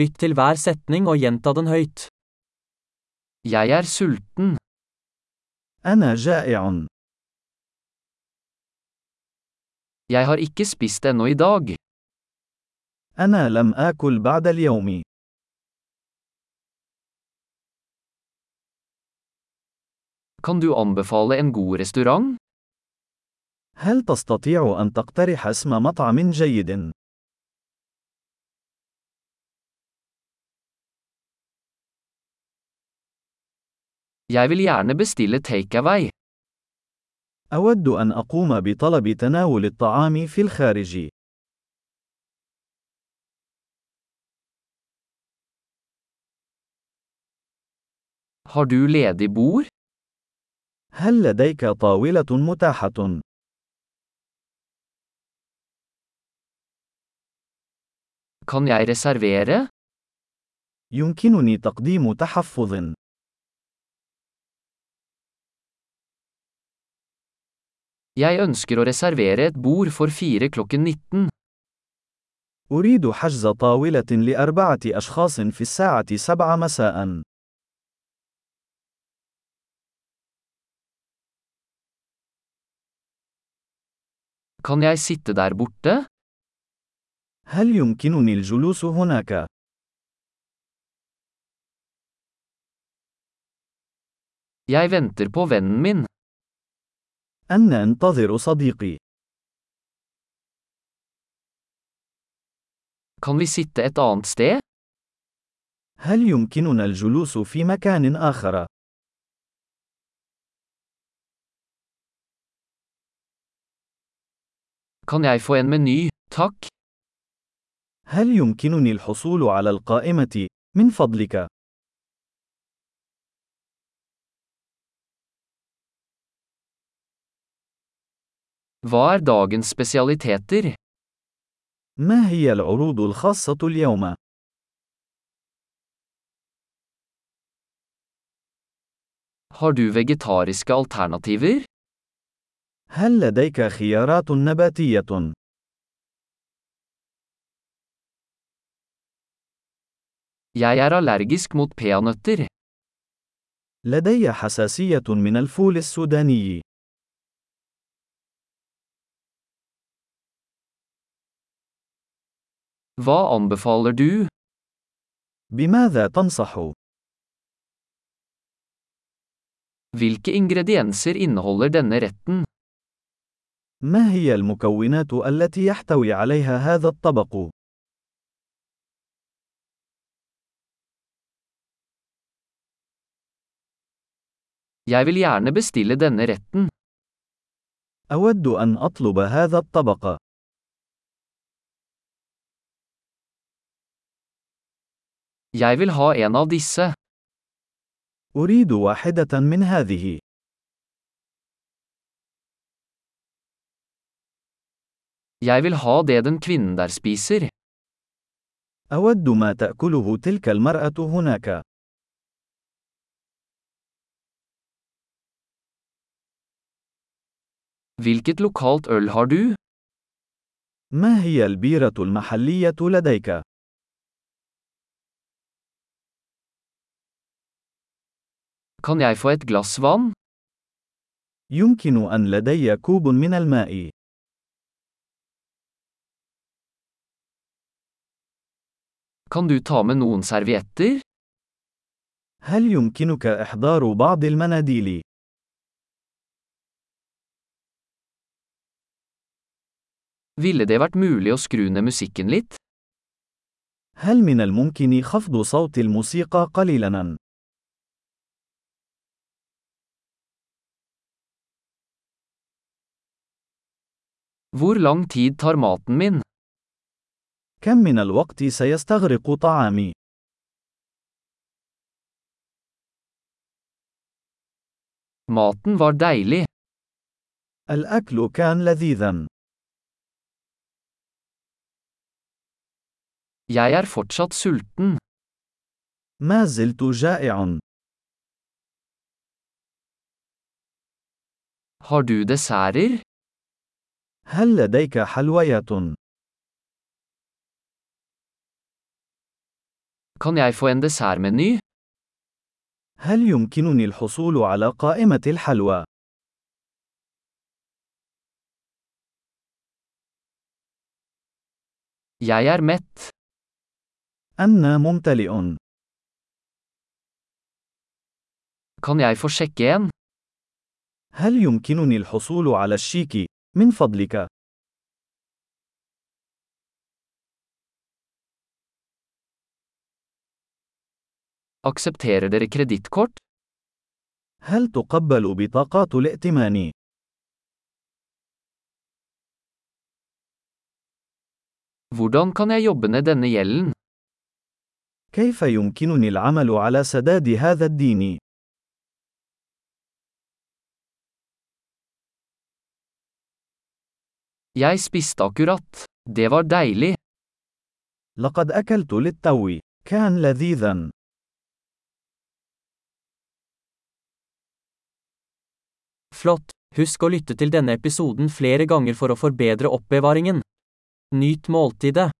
Lytt til hver setning og gjenta den høyt. Jeg er sulten. أنا جائع. Jeg har ikke spist ennå i dag. أنا لم آكل بعد اليوم. Kan du anbefale en god restaurant? هل تستطيع أن تقترح اسم مطعم جيد؟ Jeg vil gjerne bestille takeaway. أود أن أقوم بطلب تناول الطعام في الخارج. Har du ledig bord? هل لديك طاولة متاحة؟ Kan jeg reservere? يمكنني تقديم تحفظ. Jeg ønsker å reservere et bord for fire klokken 19. أريد حجز طاولة لأربعة أشخاص في الساعة 7 مساء. Kan jeg sitte der borte? هل يمكنني الجلوس هناك؟ Jeg venter på vennen min. أنا أنتظر صديقي. Kan vi sitte et annet sted? هل يمكننا الجلوس في مكان آخر؟ Kan jeg få en meny? Takk. هل يمكنني الحصول على القائمة؟ من فضلك، Hva er dagens spesialiteter? ما هي العروض الخاصة اليوم؟ Har du vegetariske alternativer? هل لديك خيارات نباتية؟ Jeg er allergisk mot peanøtter. لدي حساسية من الفول السوداني. Hva anbefaler du? بماذا تنصح؟ Hvilke ingredienser inneholder denne retten? ما هي المكونات التي يحتوي عليها هذا الطبق؟ Jeg vil gjerne bestille denne retten. أود أن أطلب هذا الطبق. Jeg vil ha en av disse. أريد واحدة من هذه. Jeg vil ha det den kvinnen der spiser. أود ما تأكله تلك المرأة هناك. Hvilket lokalt øl har du? ما هي البيرة المحلية لديك؟ Kan jeg få et glass vann? يمكن أن لدي كوب من الماء. Kan du ta med noen servietter? هل يمكنك إحضار بعض المناديل؟ Ville det vært mulig å skru ned musikken litt? هل من الممكن خفض صوت الموسيقى قليلاً؟ Hvor lang tid tar maten min? كم من الوقت سيستغرق طعامي؟ Maten var deilig. الأكل كان لذيذاً. Jeg er fortsatt sulten. ما زلت جائع. Har du desserter? هل لديك حلويات؟ Kan jeg få en dessertmeny? هل يمكنني الحصول على قائمة الحلوى؟ Jeg er mett. أنا ممتلئ. Kan jeg få sjekke en? هل يمكنني الحصول على الشيك؟ من فضلك. Aksepterer dere kredittkort? هل تقبل بطاقات الائتمان؟ Hvordan kan jeg jobbe ned denne gjelden? كيف يمكنني العمل على سداد هذا الدين؟ Jeg spiste akkurat. Det var deilig. لقد أكلت للتو. كان لذيذا. Flott. Husk å lytte til denne episoden flere ganger for å forbedre oppbevaringen. Nyt måltidet.